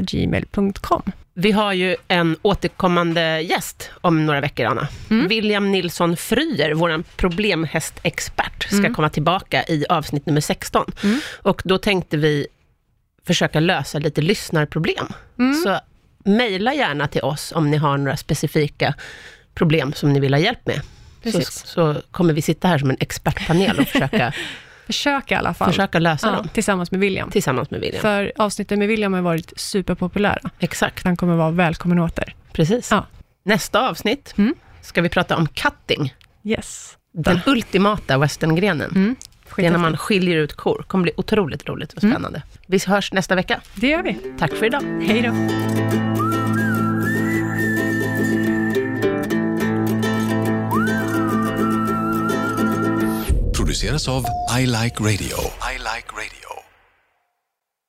gmail.com. Vi har ju en återkommande gäst om några veckor, Anna. Mm. William Nilsson Fryer, vår problemhästexpert, ska Mm. komma tillbaka i avsnitt nummer 16. Och då tänkte vi försöka lösa lite lyssnarproblem. Mm. Så mejla gärna till oss om ni har några specifika problem som ni vill ha hjälp med. Så, Precis. så kommer vi sitta här som en expertpanel och försöka, Försök i alla fall. försöka lösa ja, dem tillsammans med William. tillsammans med William. För avsnitten med William har varit superpopulära. Exakt, Han kommer vara välkommen åter. precis. Ja. Nästa avsnitt Mm. ska vi prata om cutting, Yes. den ultimata westerngrenen. Det är när Skithäftigt. man skiljer ut kor. kommer bli otroligt roligt och spännande. Vi hörs nästa vecka. Det gör vi. Tack för idag. Hej då. produceras av I Like Radio. I like radio.